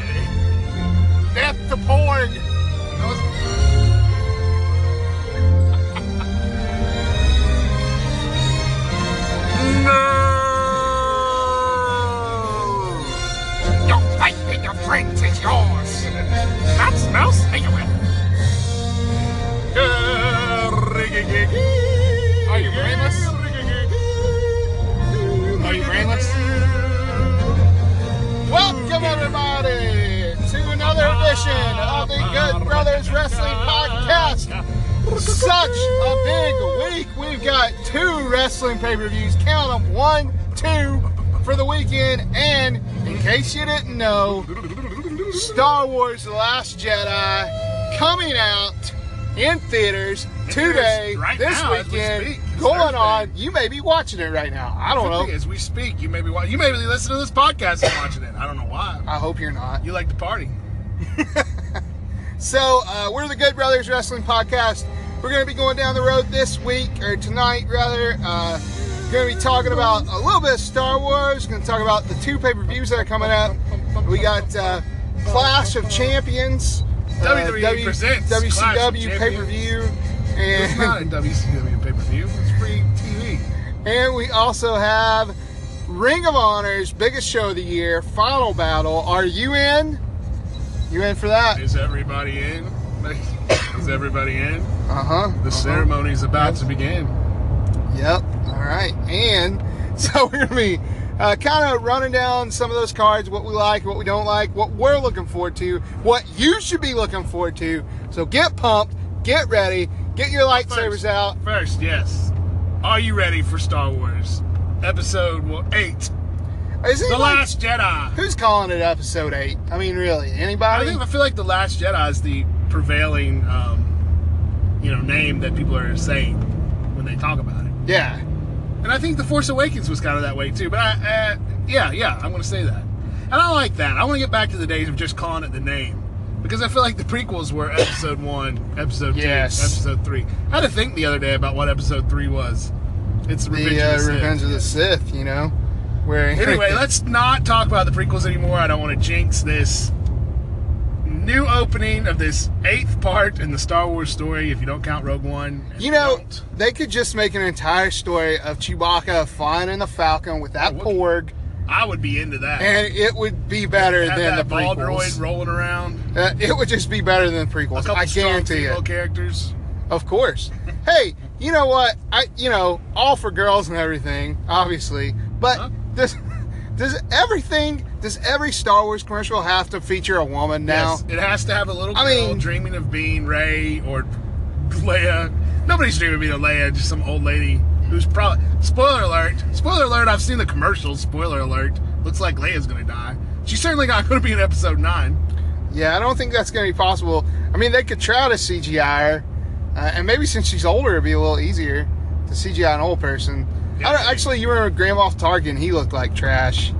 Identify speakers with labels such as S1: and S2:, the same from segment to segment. S1: Hey! Death to porn! That was No! Your fight with your friends is yours. That's no singling. Are you brainless? Are you brainless? Welcome everybody to another edition of the Good Brothers Wrestling Podcast such a big week. We've got two wrestling pay per views. Count them one, two for the weekend. And in case you didn't know, Star Wars The Last Jedi coming out in theaters today,
S2: Theaters right
S1: this
S2: now, as we
S1: weekend,
S2: speak. It's
S1: going
S2: Thursday.
S1: on. You may be watching it right now. I don't know.
S2: As we speak, you may be wa- you may be listening to this podcast and watching it. I don't know why.
S1: I hope you're not.
S2: You like to party.
S1: So uh, we're the Good Brothers Wrestling Podcast. We're going to be going down the road this week or tonight, rather. Uh, going to be talking about a little bit of Star Wars. Going to talk about the two pay per views that are coming up. We got uh, Clash of Champions, uh,
S2: WWE E presents Clash of Champions.
S1: WCW pay per view,
S2: It's not a
S1: and
S2: WCW pay per view. It's free TV.
S1: and we also have Ring of Honor's biggest show of the year, Final Battle. Are you in? You in for that?
S2: Is everybody in? Is everybody in?
S1: Uh huh.
S2: The ceremony is about to begin.
S1: Yep. All right. And so we're gonna be uh, kind of running down some of those cards, what we like, what we don't like, what we're looking forward to, what you should be looking forward to. So get pumped, get ready, get your lightsabers
S2: First.
S1: out.
S2: First, yes. Are you ready for Star Wars Episode well, Eight,
S1: Is it
S2: The
S1: like-
S2: Last Jedi?
S1: Who's calling it episode eight? I mean, really,
S2: I
S1: anybody?
S2: think I feel like The Last Jedi is the prevailing, um, you know, name that people are saying when they talk about it.
S1: yeah.
S2: And I think The Force Awakens was kind of that way too. But I, uh, yeah, yeah, I'm going to say that. And I like that. I want to get back to the days of just calling it the name. Because I feel like the prequels were episode one, episode
S1: Yes.
S2: two, episode three. I had to think the other day about what episode three was. It's Revenge
S1: the uh,
S2: of the Sith.
S1: Revenge of the Sith, you know, where
S2: Anyway, let's not talk about the prequels anymore. I don't want to jinx this new opening of this eighth part in the Star Wars story. If you don't count Rogue One, and
S1: You know,
S2: don't.
S1: they could just make an entire story of Chewbacca flying in the Falcon with that
S2: Oh, what-
S1: Porg,
S2: I would be into that.
S1: and it would be better
S2: Have
S1: than
S2: that
S1: the
S2: ball
S1: prequels.
S2: droid rolling around.
S1: Uh, it would just be better than the
S2: A
S1: prequels.
S2: couple
S1: I
S2: strong
S1: guarantee
S2: female
S1: it.
S2: characters.
S1: Of course. hey, you know what? I you know all for girls and everything, obviously. But
S2: Huh?
S1: does does everything does every Star Wars commercial have to feature a woman now?
S2: yes, it has to have a little girl
S1: I mean-
S2: dreaming of being Ray or Leia. Nobody's dreaming of being a Leia, just some old lady who's probably. Spoiler alert! Spoiler alert! I've seen the commercials. Spoiler alert! Looks like Leia's gonna die. She's certainly not gonna be in episode nine.
S1: Yeah, I don't think that's going to be possible. I mean, they could try to CGI her, uh, and maybe since she's older, it'd be a little easier to CGI an old person. I
S2: Yeah.
S1: don't, actually, you remember Grand Moff Tarkin? He looked like trash.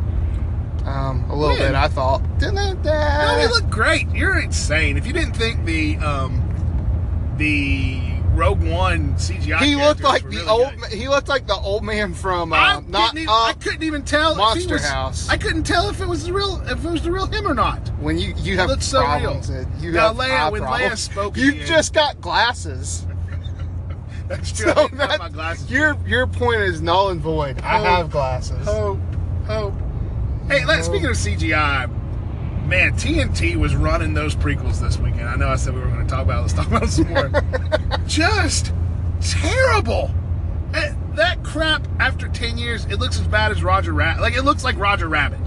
S1: Um, a little
S2: When?
S1: bit, I thought. Didn't it? Uh,
S2: No, they look great. You're insane. If you didn't think the um, the Rogue One CGI,
S1: he looked
S2: characters
S1: like
S2: were
S1: the
S2: really
S1: old.
S2: good.
S1: ma- He looked like the old man from
S2: I,
S1: uh,
S2: didn't
S1: not
S2: even, I
S1: up.
S2: couldn't even tell if
S1: Monster
S2: he was,
S1: House.
S2: I couldn't tell if it was the real if it was the real him or not.
S1: When you you have
S2: looked so
S1: problems,
S2: real.
S1: Ed. you
S2: Now,
S1: have
S2: Leia-
S1: eye
S2: when Leia
S1: problems.
S2: spoke at
S1: you
S2: the end-
S1: just got glasses.
S2: That's true.
S1: So
S2: I didn't have
S1: that-
S2: my glasses.
S1: your your point is null and void. I
S2: Oh.
S1: have glasses.
S2: oh, oh. Hey, let,
S1: Oh.
S2: speaking of CGI, man, TNT was running those prequels this weekend. I know I said we were going to talk about. it. Let's talk about it some more. Just terrible. Eh, That crap. After ten years, it looks as bad as Roger Rabbit. Like it looks like Roger Rabbit.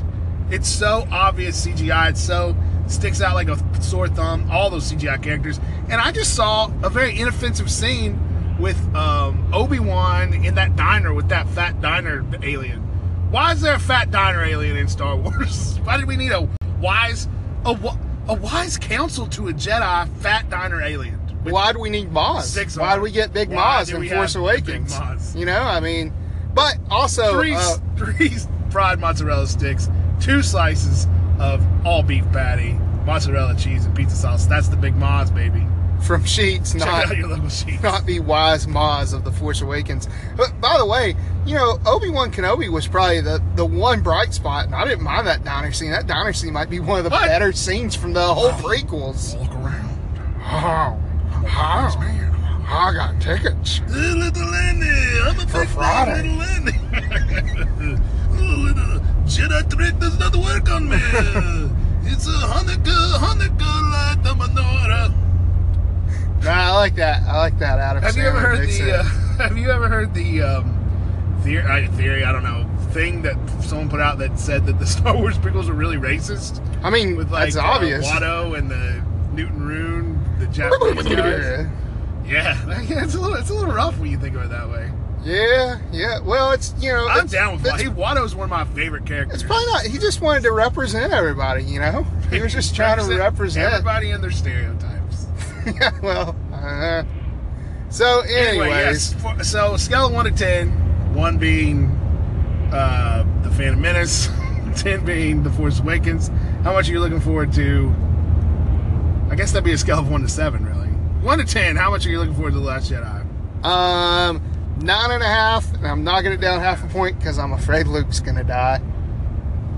S2: It's so obvious CGI. It's so sticks out like a sore thumb. All those CGI characters. And I just saw a very inoffensive scene with um, Obi Wan in that diner with that fat diner alien. Why is there a fat diner alien in Star Wars? Why did we need a wise a wi- a wise counsel to a Jedi fat diner alien? With-
S1: Why do we need Moz?
S2: Six
S1: Why do
S2: arms.
S1: we get Big
S2: Why
S1: Moz
S2: do
S1: in
S2: we
S1: Force
S2: have
S1: Awakens?
S2: Big Maz?
S1: You know, I mean, but also
S2: three
S1: uh,
S2: three fried mozzarella sticks, two slices of all beef patty, mozzarella cheese, and pizza sauce. That's the big Moz, baby.
S1: from Sheets,
S2: Check
S1: not
S2: out your local sheets.
S1: not the wise Maz of the Force Awakens. But by the way, you know Obi Wan Kenobi was probably the the one bright spot, and I didn't mind that diner scene. That diner scene might be one of the
S2: What?
S1: better scenes from the whole prequels.
S2: Walk around.
S1: Oh,
S2: Yes,
S1: oh,
S2: man.
S1: I got tickets.
S2: Hey, little Andy. I'm a
S1: For
S2: big
S1: Friday.
S2: fan of Little Andy. oh, little Jedi trick does not work on me. it's a Hanukkah, Hanukkah light, the menorah.
S1: Nah, I like that. I like that out of
S2: Have you
S1: Sarah
S2: ever heard
S1: Nixon.
S2: the? Uh, have you ever heard the um, theory? I, theory I don't know thing that someone put out that said that the Star Wars prequels were really racist
S1: I mean,
S2: with like
S1: that's
S2: uh,
S1: obvious.
S2: Watto and the Newton Rune, the Japanese guys. Yeah, yeah, it's a little it's a little rough when you think of it that way.
S1: yeah, yeah. Well, it's you know,
S2: I'm
S1: it's-
S2: down with
S1: it's-
S2: Watto. Watto's one of my favorite characters.
S1: It's probably not. He just wanted to represent everybody, you know. He was just trying to represent.
S2: everybody and their stereotypes.
S1: yeah, well. Uh, so, anyways,
S2: Anyway, yes. for- So scale of one to ten, one being uh, the Phantom Menace, ten being the Force Awakens. How much are you looking forward to? I guess that'd be a scale of one to seven, really. One to ten. How much are you looking forward to the Last Jedi?
S1: um, nine and a half, and I'm knocking it down half a point because I'm afraid Luke's gonna die.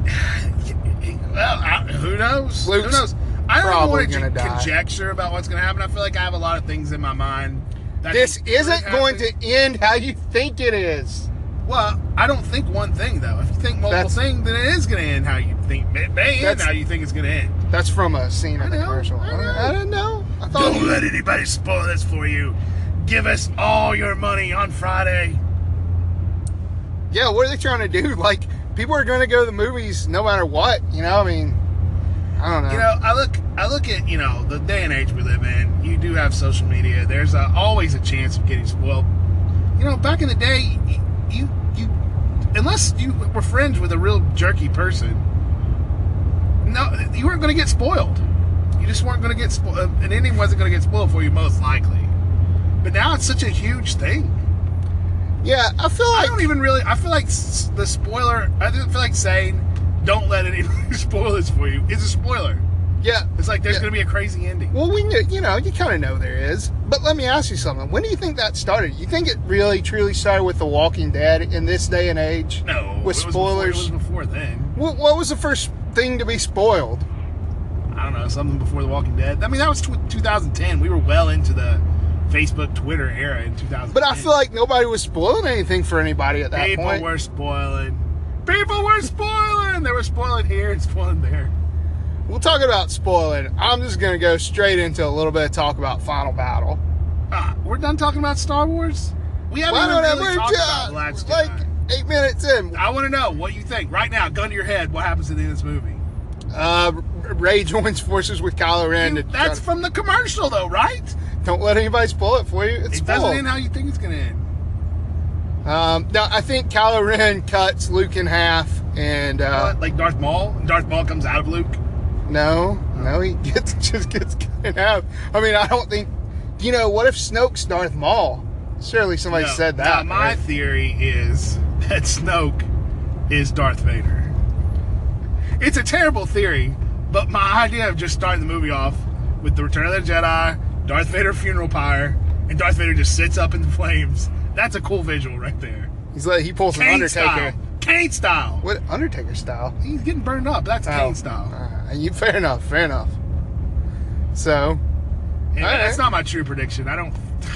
S2: Well, I, who knows?
S1: Luke's
S2: who knows? I don't
S1: probably
S2: want to
S1: gonna die.
S2: conjecture about what's going to happen. I feel like I have a lot of things in my mind. That
S1: This
S2: could
S1: isn't
S2: happen.
S1: going to end how you think it is.
S2: Well, I don't think one thing though. If you think multiple
S1: That's-
S2: things, then it is going to end how you think. May, may end
S1: That's-
S2: how you think it's going to end.
S1: That's from a scene in
S2: I
S1: the
S2: know,
S1: commercial.
S2: I know.
S1: I don't know. I thought.
S2: Don't let anybody spoil this for you. Give us all your money on Friday.
S1: Yeah, what are they trying to do? Like, people are gonna go to the movies no matter what. You know, I mean, I don't know.
S2: You know, I look, I look at you know the day and age we live in. You do have social media. There's a, always a chance of getting spoiled. You know, back in the day, y- you you unless you were friends with a real jerky person, no, you weren't going to get spoiled. You just weren't going to get spoiled. An ending wasn't going to get spoiled for you, most likely. But now it's such a huge thing.
S1: yeah, I feel
S2: I
S1: like
S2: don't even really. I feel like s- the spoiler. I didn't feel like saying, "Don't let anybody spoil this for you." It's a spoiler.
S1: yeah.
S2: It's like there's
S1: Yeah.
S2: going to be a crazy ending.
S1: Well, we knew, you know, you kind of know there is. But let me ask you something. When do you think that started? You think it really truly started with The Walking Dead in this day and age?
S2: No,
S1: With
S2: it was
S1: spoilers.
S2: Before, it was before then.
S1: What, what was the first thing to be spoiled?
S2: I don't know something before The Walking Dead. I mean, that was tw 2010. We were well into the Facebook, Twitter era in 2010.
S1: But I feel like nobody was spoiling anything for anybody at that
S2: people
S1: point.
S2: were spoiling. People were spoiling. They were spoiling here and spoiling there.
S1: We'll talk about spoiling. I'm just going to go straight into a little bit of talk about Final Battle.
S2: Ah, we're done talking about Star Wars. We haven't
S1: Why
S2: even
S1: don't I
S2: really
S1: we're
S2: talked about
S1: done?
S2: The Last
S1: Like
S2: Jedi.
S1: eight minutes in.
S2: I want to know what you think right now. Gun to your head. What happens at the end of this movie?
S1: Uh, Ray joins forces with Kylo Ren. to try
S2: That's
S1: to-
S2: from the commercial, though, right?
S1: don't let anybody spoil it for you. It's
S2: It doesn't
S1: spoiled.
S2: end how you think it's going to end.
S1: Um, no, I think Kylo Ren cuts Luke in half, and uh,
S2: What, like Darth Maul. Darth Maul comes out of Luke.
S1: no, no, he gets just gets cut in half. I mean, I don't think. You know, what if Snoke's Darth Maul? Surely somebody
S2: No.
S1: said
S2: Now,
S1: that.
S2: my
S1: right?
S2: theory is that Snoke is Darth Vader. It's a terrible theory, but my idea of just starting the movie off with the Return of the Jedi, Darth Vader funeral pyre, and Darth Vader just sits up in the flames. That's a cool visual right there.
S1: He's like he pulls an
S2: Kane
S1: Undertaker.
S2: style. Kane style.
S1: What Undertaker style?
S2: He's getting burned up. That's
S1: Oh.
S2: Kane style.
S1: Uh, you fair enough, fair enough. So,
S2: Anyway,
S1: All right.
S2: That's not my true prediction. I don't.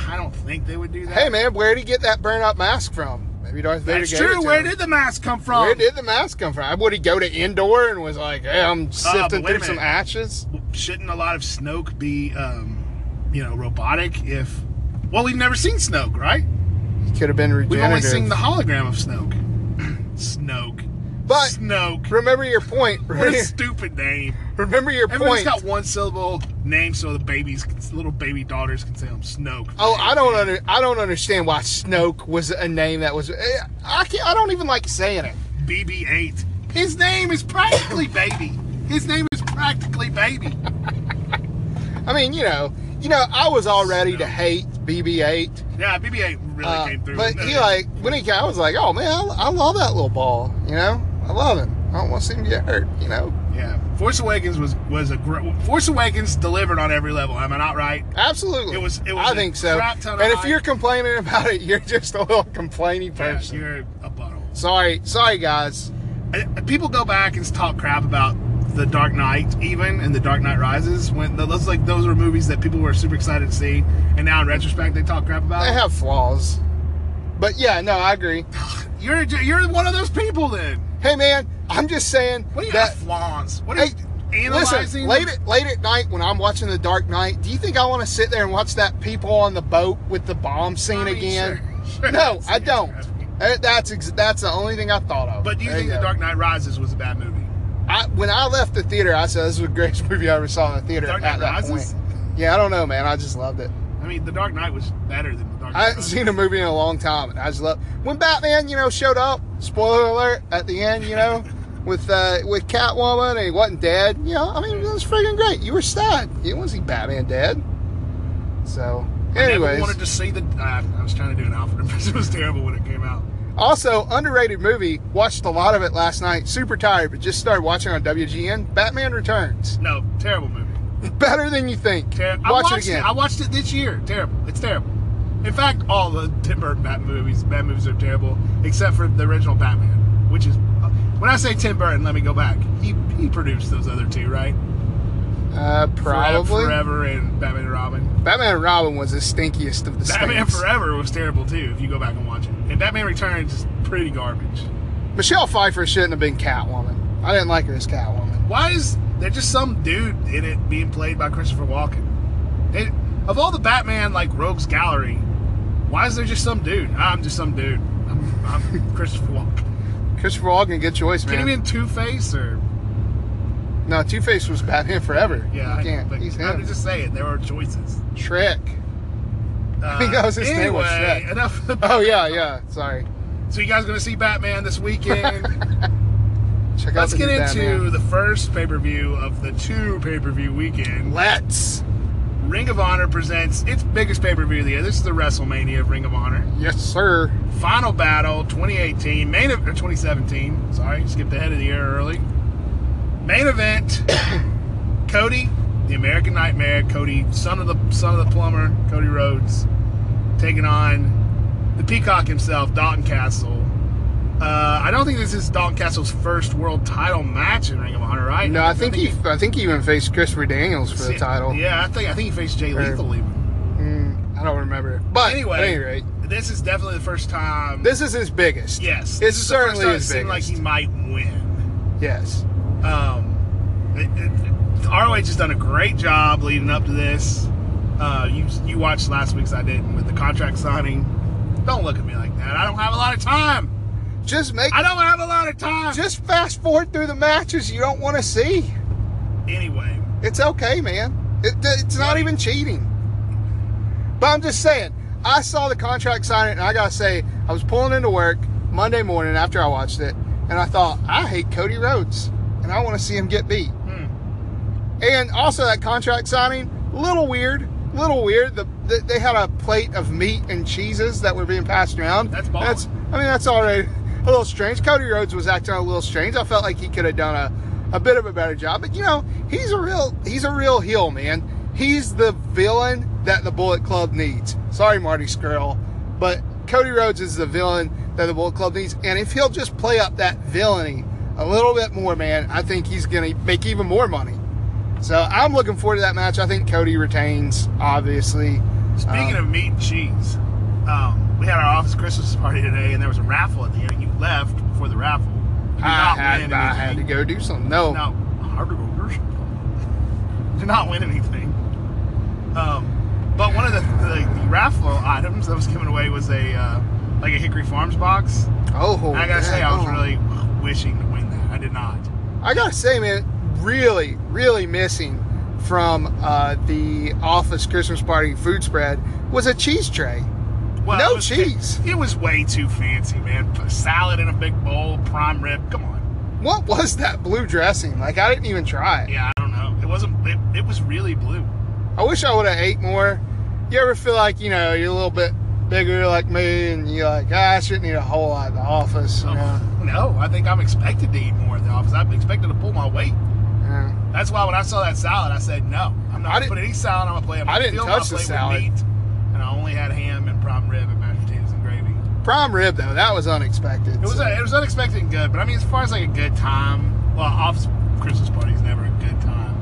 S2: I don't think they would do that.
S1: hey man, where'd he get that burnout mask from? Maybe Darth Vader.
S2: that's
S1: gave It
S2: true.
S1: to
S2: Where
S1: him.
S2: did Oh. the mask come from?
S1: Where did the mask come from? Would he go to Endor and was like, "Hey, I'm
S2: Oh, but
S1: sifting
S2: wait a
S1: through some
S2: minute.
S1: ashes"?
S2: shouldn't a lot of Snoke be, um, you know, robotic? If well, we've never seen Snoke, right?
S1: He could have been regenerative.
S2: We've only seen the hologram of Snoke. Snoke,
S1: But-
S2: Snoke.
S1: Remember your point.
S2: What a
S1: Remember,
S2: stupid name.
S1: remember your
S2: Everyone's
S1: point.
S2: got one syllable name, so the babies, little baby daughters, can say I'm Snoke.
S1: Oh, I don't under, I don't understand why Snoke was a name that was. eh, I can't, I don't even like saying it.
S2: BB-8. His name is practically baby. His name is practically baby.
S1: I mean, you know, you know, I was all ready to
S2: Snoke.
S1: hate BB-8,
S2: Yeah, BB-8 really
S1: uh,
S2: came through.
S1: but he like when he came, I was like, oh man, I, I love that little ball. You know, I love him. I don't want to see him get hurt. You know,
S2: Yeah, Force Awakens was was a gr- Force Awakens delivered on every level. Am I not right?
S1: Absolutely.
S2: It was- it was
S1: I
S2: a
S1: think so.
S2: crap ton of
S1: and if
S2: hype.
S1: you're complaining about it, you're just a little complaining
S2: Yeah,
S1: person.
S2: you're a butthole.
S1: sorry, sorry guys.
S2: And People go back and talk crap about the Dark Knight, even and the Dark Knight Rises. When those like those were movies that people were super excited to see, and now in retrospect they talk crap about.
S1: They
S2: it.
S1: have flaws. But yeah, no, I agree.
S2: You're you're one of those people then.
S1: Hey man, I'm just saying
S2: What do you
S1: that
S2: have flaws? What are
S1: Hey,
S2: you analyzing?
S1: Listen, late at, late at night when I'm watching The Dark Knight, do you think I want to sit there and watch that people on the boat with the bomb scene
S2: I mean,
S1: again?
S2: sure, sure,
S1: no,
S2: that's
S1: I
S2: the
S1: don't.
S2: answer.
S1: Eh, That's ex- that's the only thing I thought of.
S2: But do you
S1: There
S2: think The
S1: go.
S2: Dark Knight Rises was a bad movie?
S1: I, when I left the theater, I said this is the greatest movie I ever saw in the theater
S2: Dark Knight
S1: at that
S2: Rises?
S1: point. Yeah, I don't know, man. I just loved it.
S2: I mean, The Dark Knight was better than The Dark Knight.
S1: I hadn't
S2: Rises.
S1: seen a movie in a long time, and I just love when Batman, you know, showed up. Spoiler alert at the end, you know, with uh, with Catwoman, and he wasn't dead. You know, I mean, it was freaking great. You were sad. You want to see Batman dead? So,
S2: I never
S1: anyways,
S2: wanted to see the. Uh, I was trying to do an Alfred impression. It was terrible when it came out.
S1: also underrated movie. Watched a lot of it last night. Super tired, but just started watching on WGN. Batman Returns.
S2: No, terrible movie.
S1: Better than you think.
S2: Ter- I
S1: Watch
S2: watched
S1: it again.
S2: I watched it this year. Terrible. It's terrible. In fact, all the Tim Burton Bat movies, bad movies are terrible, except for the original Batman, which is. When I say Tim Burton, let me go back. He he produced those other two, right?
S1: uh,
S2: Forever-
S1: probably.
S2: Forever and Batman and Robin.
S1: Batman and Robin was the stinkiest of the
S2: Batman
S1: stinks.
S2: Forever was terrible too, if you go back and watch it. And Batman Returns is pretty garbage.
S1: Michelle Pfeiffer shouldn't have been Catwoman. I didn't like her as Catwoman.
S2: Why is there just some dude in it being played by Christopher Walken? It, of all the Batman like rogues gallery, why is there just some dude? Ah, I'm just some dude. I'm, I'm Christopher Walken.
S1: Christopher Walken, good choice,
S2: Can he
S1: man.
S2: be in Two Face or
S1: no, Two Face was Batman forever.
S2: yeah?
S1: you can't.
S2: But
S1: He's
S2: I'm
S1: him.
S2: just saying there are choices.
S1: Shrek.
S2: Uh,
S1: think that was his name
S2: anyway,
S1: was Shrek.
S2: Enough.
S1: Oh yeah, yeah. Sorry.
S2: So you guys gonna see Batman this weekend?
S1: Check
S2: Let's
S1: out the
S2: get
S1: new
S2: into
S1: Batman.
S2: the first pay per view of the two pay per view weekend.
S1: Let's.
S2: Ring of Honor presents its biggest pay per view of the year. This is the WrestleMania of Ring of Honor.
S1: Yes, sir.
S2: Final Battle 2018, main ev- or 2017. Sorry, skipped ahead of the year early. Main event: Cody, the American Nightmare, Cody, son of the son of the plumber, Cody Rhodes, taking on the Peacock himself, Dalton Castle. Uh, I don't think this is Dalton Castle's first world title match in Ring of Honor, right?
S1: No, I think he. I think he even faced Christopher Daniels for the title.
S2: Yeah, I think I think he faced Jay
S1: Or-
S2: Lethal even.
S1: Mm, I don't remember. But
S2: Anyway,
S1: at any rate,
S2: this is definitely the first time.
S1: this is his biggest.
S2: yes,
S1: this
S2: is the first
S1: certainly
S2: time
S1: his
S2: it seemed like
S1: biggest.
S2: he might win.
S1: Yes.
S2: Um, it, it, ROH has done a great job leading up to this. Uh, you you watched last week's I didn't with the contract signing. Don't look at me like that. I don't have a lot of time.
S1: Just make.
S2: I don't have a lot of time.
S1: Just fast forward through the matches you don't want to see.
S2: anyway,
S1: It's okay, man. It, it's not even cheating. But I'm just saying, I saw the contract signing, and I gotta say, I was pulling into work Monday morning after I watched it, and I thought, I hate Cody Rhodes, and I want to see him get beat.
S2: hmm,
S1: And also that contract signing, little weird, little weird. The, the, they had a plate of meat and cheeses that were being passed around.
S2: That's ballin'.
S1: that's. I mean, that's already a little strange. Cody Rhodes was acting a little strange. I felt like he could have done a, a bit of a better job. But you know, he's a real he's a real heel, man. He's the villain that the Bullet Club needs. Sorry, Marty Skrull, but Cody Rhodes is the villain that the Bullet Club needs. And if he'll just play up that villainy a little bit more, man, I think he's gonna make even more money. So I'm looking forward to that match. I think Cody retains, obviously. Um,
S2: speaking of meat and cheese, um, we had our office Christmas party today, and there was a raffle at the end. You left before the raffle. You did
S1: I
S2: not
S1: had,
S2: win
S1: I had to
S2: anything.
S1: go do something. No,
S2: No, hard orders. Did not win anything. Um, but one of the, the, the raffle items that was given away was a uh, like a Hickory Farms box.
S1: oh,
S2: And I gotta say, I was
S1: oh.
S2: really wishing to win that. I did not.
S1: I gotta say, man, really, really missing from uh, the office Christmas party food spread was a cheese tray.
S2: Well,
S1: No
S2: it was-
S1: cheese.
S2: It, was way too fancy, man. Put salad in a big bowl, prime rib. Come on.
S1: What was that blue dressing? Like I didn't even try it.
S2: Yeah, I don't know. It wasn't. It, it was really blue.
S1: I wish I would have ate more. You ever feel like you know you're a little bit bigger like me, and you're like, ah, I shouldn't eat a whole lot at the office. You
S2: So,
S1: know?
S2: No, I think I'm expected to eat more at the office. I'm expected to pull my weight. That's why when I saw that salad, I said no. I'm not
S1: I didn't-
S2: gonna put any salad on my plate. I'm
S1: I
S2: gonna fill
S1: didn't touch the
S2: my plate
S1: salad.
S2: With meat, and I only had ham and prime rib and mashed potatoes and gravy.
S1: Prime rib though, that was unexpected.
S2: It was
S1: so-
S2: it was unexpected and good, but I mean, as far as like a good time, well, office Christmas party is never a good time,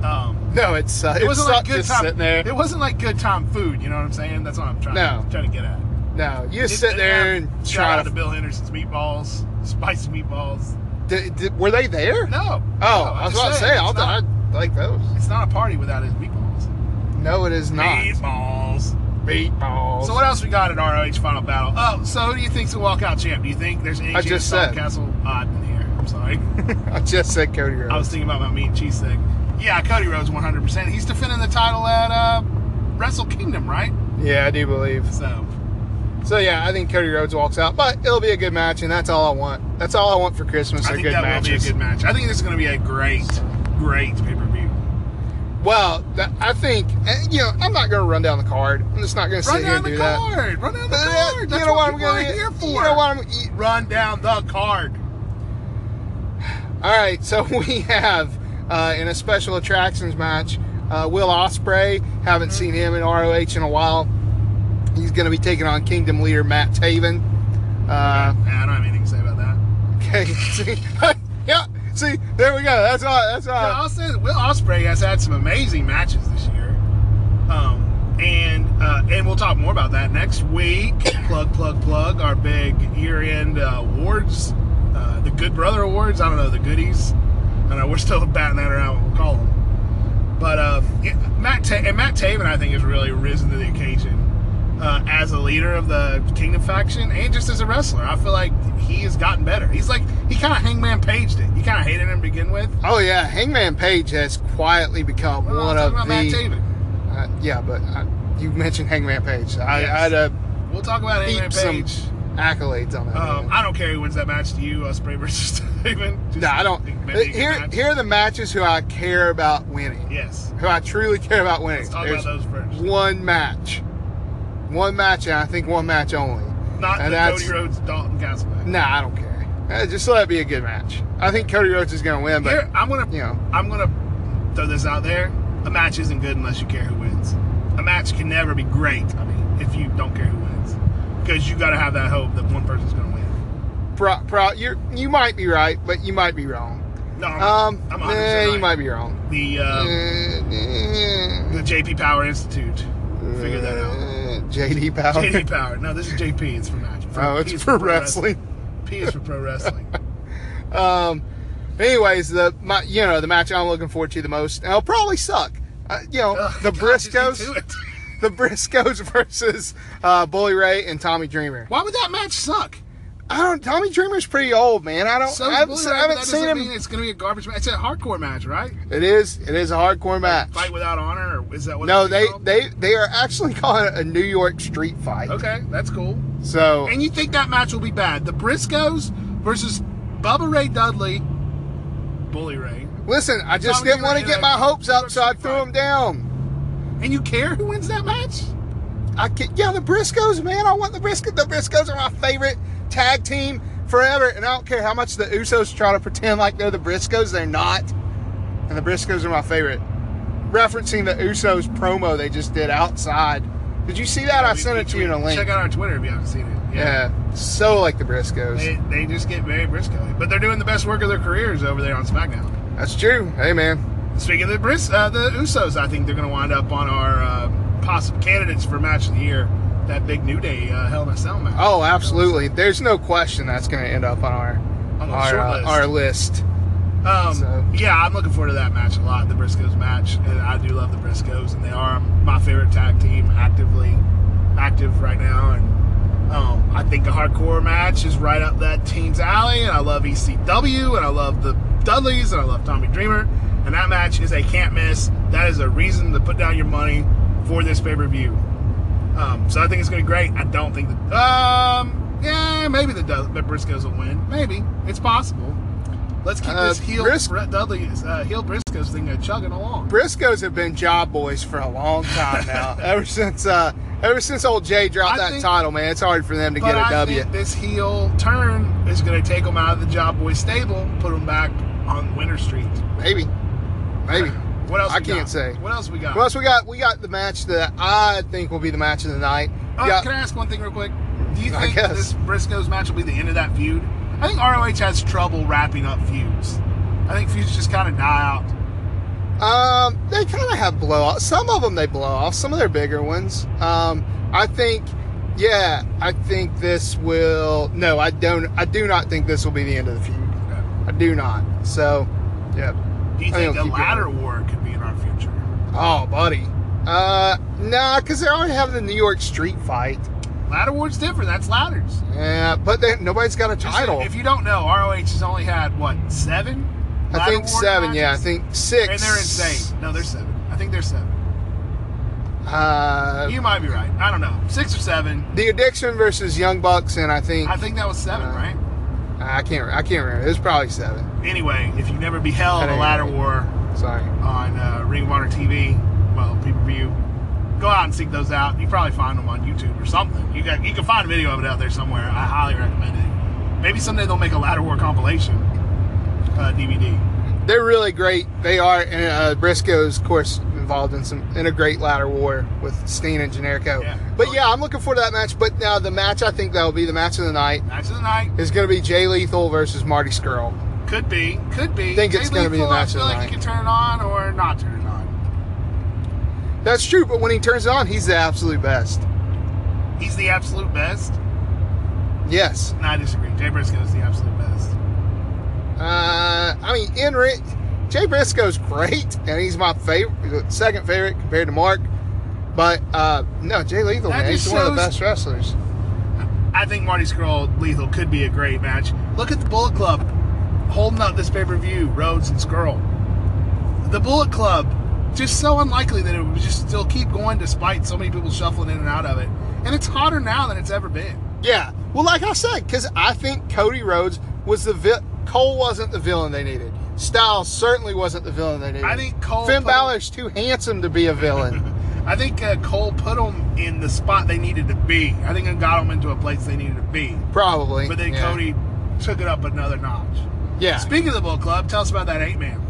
S2: but um,
S1: no, it's uh,
S2: it wasn't like
S1: sucked
S2: good
S1: just
S2: time.
S1: sitting there.
S2: It wasn't like good time food. You know what I'm saying? That's what I'm trying
S1: No.
S2: trying to get at.
S1: no, you
S2: It-
S1: just sit
S2: it-
S1: there
S2: shout
S1: and
S2: out
S1: try
S2: to
S1: to.
S2: Bill Henderson's meatballs, spicy meatballs.
S1: Did, did, were they there?
S2: No.
S1: Oh,
S2: no,
S1: I was
S2: just
S1: about to
S2: saying,
S1: say. I'll,
S2: it's, not,
S1: I like those.
S2: it's not a party without his meatballs.
S1: No, it is not.
S2: Meatballs.
S1: Meatballs.
S2: So what else we got at ROH Final Battle? Oh, so who do you think's the walkout champ? Do you think there's any
S1: I
S2: chance
S1: just
S2: Tom
S1: said.
S2: Castle odd in here? I'm sorry.
S1: I just said Cody Rhodes.
S2: I was thinking about my meat and cheese thing. Yeah, Cody Rhodes 100%. He's defending the title at uh, Wrestle Kingdom, right?
S1: yeah, I do believe.
S2: So,
S1: So yeah, I think Cody Rhodes walks out, but it'll be a good match, and that's all I want. That's all I want for Christmas.
S2: I
S1: Are
S2: think
S1: good
S2: that will
S1: matches.
S2: be a good match. I think this is going to be a great, great pay-per-view.
S1: well, that, I think eh, you know I'm not going to run down the card. I'm just not going to
S2: Run
S1: sit here
S2: down
S1: and
S2: the
S1: do that.
S2: card! Run down the
S1: But, eh,
S2: card! That's what,
S1: I'm
S2: people are
S1: gonna-
S2: here for!
S1: You know what I'm? you-
S2: Run down the card!
S1: All right, so we have uh, in a special attractions match, uh, Will Osprey. Haven't seen him in ROH in a while. He's going to be taking on Kingdom leader Matt Taven. Uh,
S2: Nah, I don't have anything to say about that.
S1: okay, see, yeah, see, there we go. That's all. That's all.
S2: Yeah, I'll say that Will Ospreay has had some amazing matches this year, um, and uh, and we'll talk more about that next week. plug, plug, plug! Our big year-end uh, awards, uh, the Good Brother Awards. I don't know the goodies. I know we're still batting that around. What we'll call them. But uh, yeah, Matt Ta- and Matt Taven, I think, has really risen to the occasion uh, as a leader of the Kingdom faction and just as a wrestler. I feel like he has gotten better. He's like he kind of Hangman Paged it. You kind of hated him to begin with.
S1: Oh yeah, Hangman Page has quietly become
S2: Well,
S1: one
S2: I'll
S1: of
S2: talk about Matt
S1: the.
S2: Taven.
S1: uh, yeah, but uh you mentioned Hangman Page. I,
S2: Yes.
S1: I'd uh,
S2: We'll talk about
S1: heap
S2: Hangman
S1: some
S2: Page.
S1: accolades on that.
S2: Um,
S1: man.
S2: I don't care who wins that match to you, Osprey versus Taven. Just
S1: no, I don't. Uh,
S2: make it a good
S1: Here,
S2: match.
S1: here are the matches who I care about winning.
S2: Yes.
S1: Who I truly care about winning.
S2: Let's talk
S1: There's
S2: about those first.
S1: one match, one match, and I think one match only.
S2: Not
S1: and
S2: the
S1: that's-
S2: Cody Rhodes Dalton Castle match.
S1: Nah, I don't care. Uh, just let it be a good match. I think Cody Rhodes is going to win, but
S2: Here, I'm gonna,
S1: you know.
S2: I'm gonna throw this out there. A match isn't good unless you care who wins. A match can never be great. I mean, if you don't care who wins, because you got to have that hope that one person's gonna win.
S1: pro, pro, you're, you might be right, but you might be wrong.
S2: No, I'm,
S1: Um,
S2: I'm 100%
S1: eh,
S2: right.
S1: you might be wrong.
S2: The uh,
S1: Uh,
S2: the JP Power Institute figured that out.
S1: Uh, JD Power.
S2: JD Power. No, this is JP. It's for match. For-
S1: Oh,
S2: P
S1: it's
S2: is
S1: for wrestling.
S2: P is for pro wrestling.
S1: Um, anyways, the my, you know the match I'm looking forward to the most, and it'll probably suck. Uh, you know
S2: Ugh,
S1: the
S2: God, just do
S1: Briscoes,
S2: it.
S1: the Briscoes versus uh, Bully Ray and Tommy Dreamer.
S2: Why would that match suck?
S1: I don't. Tommy Dreamer's pretty old, man. I don't.
S2: So
S1: I haven't,
S2: Bully
S1: se-
S2: Ray,
S1: I
S2: but
S1: haven't
S2: that
S1: seen
S2: doesn't
S1: him.
S2: mean It's going to be a garbage match. It's a hardcore match, right?
S1: It is. It is a hardcore match.
S2: Fight without honor, or is that what?
S1: No,
S2: it's
S1: they
S2: called?
S1: they they are actually calling it a New York street fight.
S2: Okay, that's cool.
S1: So
S2: And you think that match will be bad? The Briscoes versus Bubba Ray Dudley, Bully Ray,
S1: listen, I just
S2: Tommy
S1: didn't want to
S2: Dreamer
S1: get
S2: in
S1: my
S2: a
S1: hopes
S2: New
S1: up,
S2: York
S1: so I
S2: street
S1: threw
S2: fight.
S1: them down.
S2: and you care who wins that match?
S1: I can, yeah, the Briscoes, man. I want the Briscoes. The Briscoes are my favorite tag team forever, and I don't care how much the Usos try to pretend like they're the Briscoes. They're not, and the Briscoes are my favorite. Referencing the Usos promo they just did outside. Did you see that? I
S2: We-
S1: sent
S2: we
S1: it to you in a
S2: tweeted-
S1: link.
S2: Check out our Twitter if you haven't seen it.
S1: yeah. so like the Briscoes.
S2: They, they just get very Briscoe, but they're doing the best work of their careers over there on SmackDown.
S1: That's true. Hey, man.
S2: Speaking of the Bris, uh, the Usos, I think they're going to wind up on our uh, possible candidates for match of the year. That big New Day uh, Hell in a Cell match.
S1: Oh, absolutely. There's no question that's going to end up on our
S2: On the
S1: our
S2: short
S1: uh,
S2: list.
S1: our list.
S2: Um,
S1: So-
S2: Yeah, I'm looking forward to that match a lot, the Briscoes match, and I do love the Briscoes, and they are my favorite tag team, actively active right now, and um, I think a hardcore match is right up that team's alley, and I love ECW, and I love the Dudleys, and I love Tommy Dreamer, and that match is a can't miss. That is a reason to put down your money for this pay per view. Um, so I think it's going to be great. I don't think the um, yeah, maybe the, Dud- the Briscoes will win. Maybe it's possible. Let's keep
S1: Uh,
S2: this heel
S1: Bris-
S2: Brett Dudley uh, heel Briscoes thing uh, chugging along.
S1: Briscoes have been job boys for a long time now. ever since uh, ever since old Jay dropped
S2: I
S1: that
S2: think-
S1: title, man, it's hard for them to
S2: But
S1: get a
S2: I
S1: W.
S2: think this heel turn is going to take them out of the Job Boy stable, put them back on Winter Street.
S1: Maybe. Maybe.
S2: What else?
S1: I
S2: we
S1: can't
S2: got?
S1: say.
S2: What else we got?
S1: What else we got? We got the match that I think will be the match of the night.
S2: Uh,
S1: We got-
S2: Can I ask one thing real quick? Do you
S1: I
S2: think
S1: guess.
S2: this Briscoes match will be the end of that feud? I think ROH has trouble wrapping up feuds. I think feuds just kind of die out.
S1: Um, they kind of have blow off. Some of them they blow off. Some of their bigger ones. Um, I think, yeah, I think this will. No, I don't. I do not think this will be the end of the feud. I do not. So, yeah.
S2: Do you think
S1: I think
S2: a
S1: it'll keep
S2: ladder war could be in our future?
S1: Oh, buddy. Uh, nah, because they already have the New York Street fight.
S2: Ladder war's different. That's ladders.
S1: Yeah, but they, nobody's got a
S2: Just-
S1: title.
S2: If you don't know, ROH has only had what seven?
S1: I
S2: ladder
S1: think
S2: war
S1: seven. Yeah, I
S2: matches?
S1: think six.
S2: And they're insane. No, they're seven. I think they're seven.
S1: Uh,
S2: You might be right. I don't know. Six or seven.
S1: the Addiction versus Young Bucks, and I think
S2: I think that was seven,
S1: Uh,
S2: right?
S1: I can't. I can't remember. It was probably seven.
S2: Anyway, if you've never beheld
S1: That
S2: a
S1: ain't
S2: ladder
S1: right.
S2: war,
S1: Sorry.
S2: on uh, Ring of Honor TV, well, pay per view. Go out and seek those out. You probably find them on YouTube or something. You got you can find a video of it out there somewhere. I highly recommend it. Maybe someday they'll make a Ladder War compilation uh, DVD.
S1: they're really great. They are, and uh, Briscoe's, of course, involved in some in a great ladder war with Steen and Generico.
S2: Yeah.
S1: But yeah, I'm looking forward to that match. But now the match I think that'll be the match of the night
S2: Match of the night
S1: is going to be Jay Lethal versus Marty Skrull.
S2: could be, could be.
S1: Think it's
S2: Jay
S1: gonna be
S2: Lethal,
S1: the match
S2: I feel
S1: of the
S2: like
S1: night.
S2: he can turn it on or not turn it on.
S1: That's true. But when he turns it on, he's the absolute best.
S2: He's the absolute best,
S1: Yes.
S2: and I disagree. Jay Briscoe is the absolute best.
S1: Uh, I mean, in ring, Jay Briscoe's great, and he's my favorite, second favorite compared to Mark. But uh, no, Jay Lethal,
S2: That
S1: man, he's
S2: just
S1: one of the
S2: shows-
S1: best wrestlers.
S2: I think Marty Skrull Lethal could be a great match. Look at the Bullet Club holding up this pay per view, Rhodes and Skrull. The Bullet Club, just so unlikely that it would just still keep going despite so many people shuffling in and out of it. And it's hotter now than it's ever been.
S1: Yeah. Well, like I said, because I think Cody Rhodes was the vi- Cole wasn't the villain they needed. Styles certainly wasn't the villain they needed.
S2: I think Cole.
S1: Finn
S2: put 'em-
S1: Balor's too handsome to be a villain.
S2: I think uh, Cole put them in the spot they needed to be. I think it got them into a place they needed to be.
S1: Probably.
S2: But then
S1: yeah.
S2: Cody took it up another notch.
S1: Yeah.
S2: Speaking of the Bullet Club, tell us about that eight man.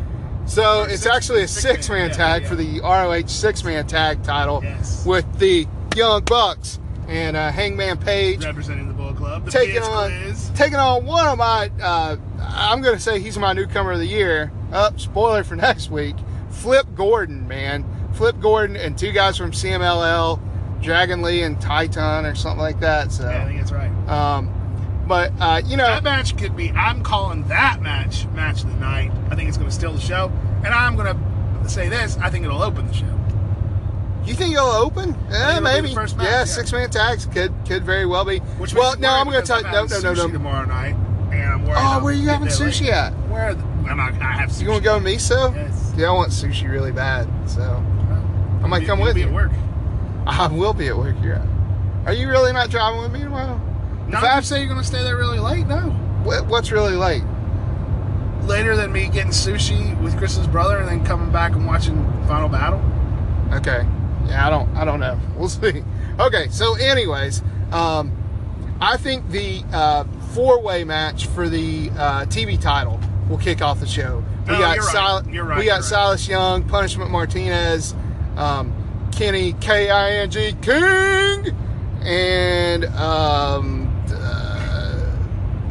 S1: so
S2: Six-
S1: it's actually a
S2: six-man,
S1: six man
S2: yeah,
S1: tag
S2: yeah.
S1: for the ROH six man tag title
S2: Yes.
S1: with the Young Bucks and uh, Hangman Page
S2: Representing the Bullet Club. The
S1: taking
S2: Biz
S1: on
S2: Quiz.
S1: taking on one of my uh, I'm gonna say he's my newcomer of the year. Up spoiler for next week. Flip Gordon, man, Flip Gordon and two guys from CMLL, Dragon Lee and Titan or something like that. So,
S2: Yeah, I think that's right.
S1: um, but uh, you know,
S2: That match could be. I'm calling that match match of the night. I think it's going to steal the show, and I'm going to say this. I think it'll open the show.
S1: you think it'll open? Eh,
S2: it'll be the
S1: maybe.
S2: first match,
S1: yeah,
S2: yeah.
S1: six man tags could could very well be.
S2: Which makes
S1: well,
S2: me
S1: no,
S2: worried
S1: I'm gonna
S2: because
S1: tell
S2: I'm
S1: no,
S2: having
S1: no, no,
S2: sushi
S1: no.
S2: tomorrow night, and I'm worried.
S1: Oh,
S2: I'll
S1: where are you
S2: get
S1: having
S2: there late.
S1: sushi at?
S2: Where are the, I'm not, I have sushi.
S1: You gonna go with me, so?
S2: Yes.
S1: Yeah, I want sushi really bad, so I might
S2: You-
S1: come
S2: you'll
S1: with
S2: be
S1: you.
S2: At work.
S1: I will be at work here. Are you really not driving with me tomorrow?
S2: Not if
S1: I-
S2: I say you're going to stay there really late. No,
S1: What, what's really late?
S2: later than me getting sushi with Chris's brother, and then coming back and watching Final Battle.
S1: Okay. Yeah, I don't. I don't know. We'll see. Okay. So, anyways, um, I think the uh, four-way match for the uh, TV title will kick off the show. We
S2: No,
S1: got
S2: you're right.
S1: Sil-
S2: You're right,
S1: We
S2: you're
S1: got
S2: right.
S1: Silas Young, Punishment Martinez, um, Kenny K I N G King, and um, uh,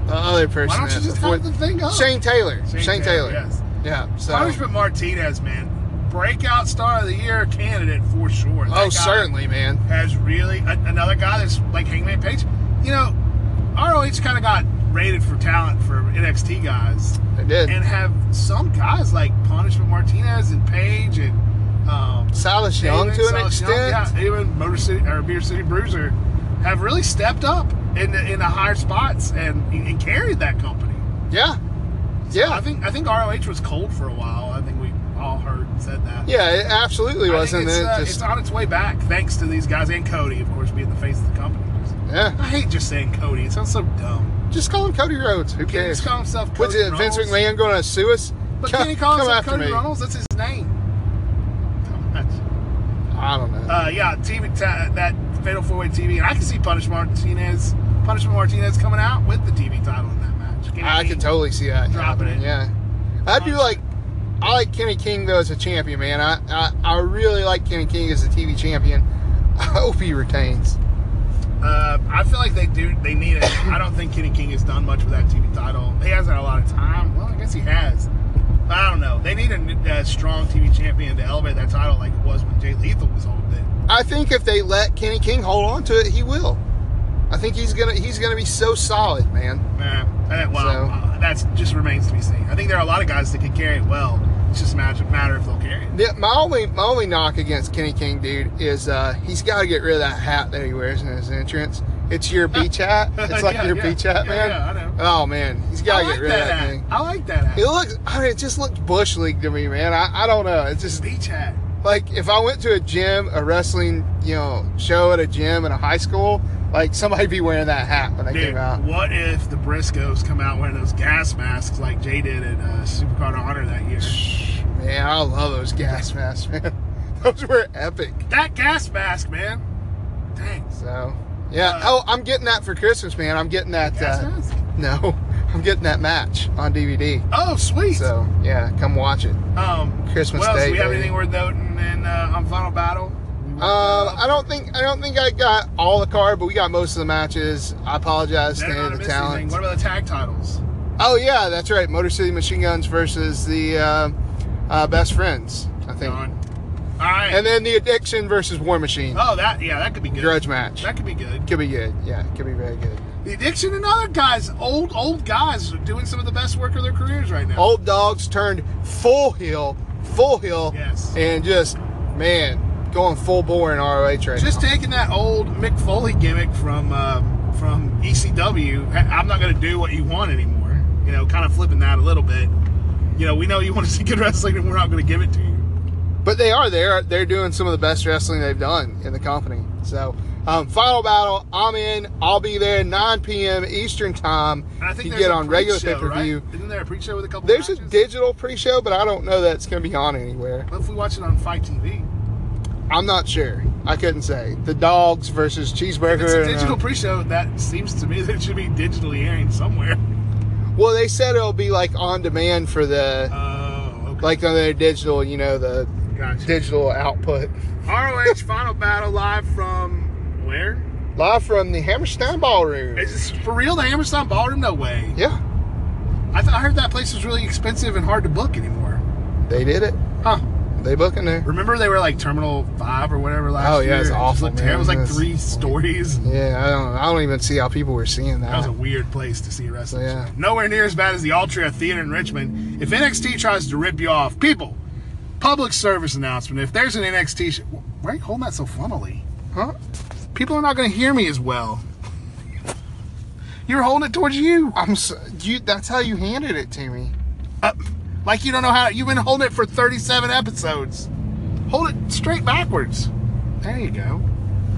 S1: the other person.
S2: Why don't you
S1: that's
S2: just
S1: the fourth-
S2: have the thing up?
S1: Shane Taylor.
S2: Shane
S1: Shane,
S2: Taylor,
S1: Taylor.
S2: yes.
S1: Yeah. So.
S2: Punishment Martinez, man, breakout star of the year candidate for sure. That guy
S1: oh, certainly, man.
S2: has really a, another guy that's like Hangman Page. You know, ROH kind of got rated for talent for NXT guys,
S1: They did.
S2: and have some guys like Punishment Martinez and Page and um,
S1: Silas Young
S2: David
S1: to an
S2: Silas
S1: extent.
S2: Young, yeah, even Motor City or Beer City Bruiser have really stepped up in the, in the higher spots and and carried that company.
S1: Yeah.
S2: I
S1: Yeah.
S2: think I think ROH was cold for a while. I think we all heard and said that.
S1: Yeah, it absolutely
S2: I
S1: was.
S2: think
S1: And
S2: it's,
S1: then
S2: uh,
S1: it just,
S2: it's on its way back, thanks to these guys and Cody, of course, being the face of the company.
S1: yeah.
S2: I hate just saying Cody. It sounds so dumb.
S1: Just call him Cody Rhodes. Who
S2: Can he
S1: cares?
S2: just call himself Cody
S1: What's it,
S2: Runnels?
S1: Vince McMahon going to sue us?
S2: But
S1: come,
S2: can he call
S1: come
S2: himself
S1: after
S2: Cody
S1: me.
S2: Runnels? That's his name.
S1: I don't know.
S2: Uh, yeah, TV ta- that Fatal Four Way TV, and I can see Punishment Martinez, Punishment Martinez coming out with the TV title in that match. Can
S1: I
S2: he
S1: could totally see that
S2: dropping
S1: happening,
S2: it.
S1: Yeah. I do like. I like Kenny King though as a champion, man. I, I I really like Kenny King as a TV champion. I hope he retains.
S2: Uh, I feel like they do. They need it. I don't think Kenny King has done much with that TV title. He hasn't had a lot of time. Well, I guess he has. I don't know. They need a, new- a strong TV champion to elevate that title, like it was when Jay Lethal was holding it.
S1: I think if they let Kenny King hold on to it, he will. I think he's gonna he's gonna be so solid, man.
S2: Nah, I- well,
S1: So-
S2: uh, that's just remains to be seen. I think there are a lot of guys that could carry it well. It's just a matter matter if they'll carry it.
S1: Yeah, my only my only knock against Kenny King, dude, is uh, he's got to get rid of that hat that he wears in his entrance. It's your beach hat. It's like
S2: Yeah,
S1: your
S2: yeah.
S1: beach hat,
S2: Yeah,
S1: man.
S2: yeah, I know.
S1: Oh man, he's got
S2: I
S1: to
S2: like
S1: get rid of
S2: that
S1: that
S2: hat.
S1: thing.
S2: I like that hat.
S1: It looks, I mean, it just looks bush league to me, man. I, I don't know. It's just
S2: Beach hat.
S1: like if I went to a gym, a wrestling, you know, show at a gym in a high school, like somebody be wearing that hat when they
S2: Dude,
S1: came out.
S2: what if the Briscoes come out wearing those gas masks like Jay did at uh, Supercard of Honor that year?
S1: Man, I love those gas masks, man. Those were epic.
S2: That gas mask, man. Dang.
S1: So, yeah.
S2: Uh,
S1: oh, I'm getting that for Christmas, man. I'm getting that.
S2: Gas
S1: Uh,
S2: mask?
S1: no, I'm getting that match on DVD.
S2: Oh, sweet.
S1: So, yeah, come watch it.
S2: um,
S1: Christmas
S2: what else?
S1: Day,
S2: Do we have
S1: baby.
S2: anything worth noting in, uh, on Final Battle? We wrapped
S1: Um,
S2: it up.
S1: I don't think I don't think I got all the card, but we got most of the matches. I apologize to
S2: Better not
S1: any
S2: have
S1: of the
S2: missed anything.
S1: talent.
S2: What about the tag titles?
S1: Oh yeah, that's right. Motor City Machine Guns versus the uh, uh, Best Friends, I think.
S2: Gone. All right.
S1: And then the Addiction versus War Machine
S2: oh, that yeah, that could be good.
S1: grudge match.
S2: That could be good.
S1: Could be good. Yeah, could be very good.
S2: The Addiction and other guys, old old guys, are doing some of the best work of their careers right now.
S1: Old dogs turned full heel, full heel,
S2: Yes.
S1: and just man going full bore in ROH right
S2: Just
S1: now.
S2: taking that old Mick Foley gimmick from um, from ECW. "Hey, I'm not going to do what you want anymore. You know, kind of flipping that a little bit. You know, we know you want to see good wrestling, and we're not going to give it to you.
S1: but they are there. They're doing some of the best wrestling they've done in the company. So. Um, final battle. I'm in. I'll be there 9 p.m. Eastern time.
S2: And I think
S1: you
S2: there's
S1: get
S2: a
S1: on regular
S2: pre-show,
S1: pay-per-view.
S2: Right? Isn't there a pre-show with a couple?
S1: There's a
S2: matches?
S1: digital pre-show, but I don't know that it's going to be on anywhere.
S2: What if we watch it on Fight TV?
S1: I'm not sure. I couldn't say. The dogs versus cheeseburger.
S2: It's a
S1: and, uh,
S2: digital pre-show. That seems to me that it should be digitally airing somewhere.
S1: well, they said it'll be like on demand for the
S2: Oh, okay.
S1: like on their digital. You know the
S2: Gotcha.
S1: digital output.
S2: ROH Final Battle live from where?
S1: Live from the Hammerstein Ballroom.
S2: Is this for real? The Hammerstein Ballroom? No way.
S1: yeah,
S2: I, th- I heard that place was really expensive and hard to book anymore.
S1: they did it.
S2: Huh?
S1: They booking there.
S2: Remember they were like Terminal Five or whatever last
S1: Oh,
S2: year.
S1: yeah, it's
S2: It just
S1: awful,
S2: looked terrible.
S1: man.
S2: It was
S1: It's-
S2: like three stories.
S1: Yeah, I don't. I don't even see how people were seeing that.
S2: That was a weird place to see a wrestling.
S1: Yeah.
S2: show. Nowhere near as bad as the Altria Theater in Richmond. If NXT tries to rip you off, people, public service announcement. If there's an NXT, sh- why are you holding that so funnily?
S1: huh?
S2: People are not going to hear me as well. You're holding it towards you.
S1: I'm so, you. That's how you handed it to me.
S2: up. Uh, Like you don't know how you've been holding it for 37 episodes. Hold it straight backwards. There you go.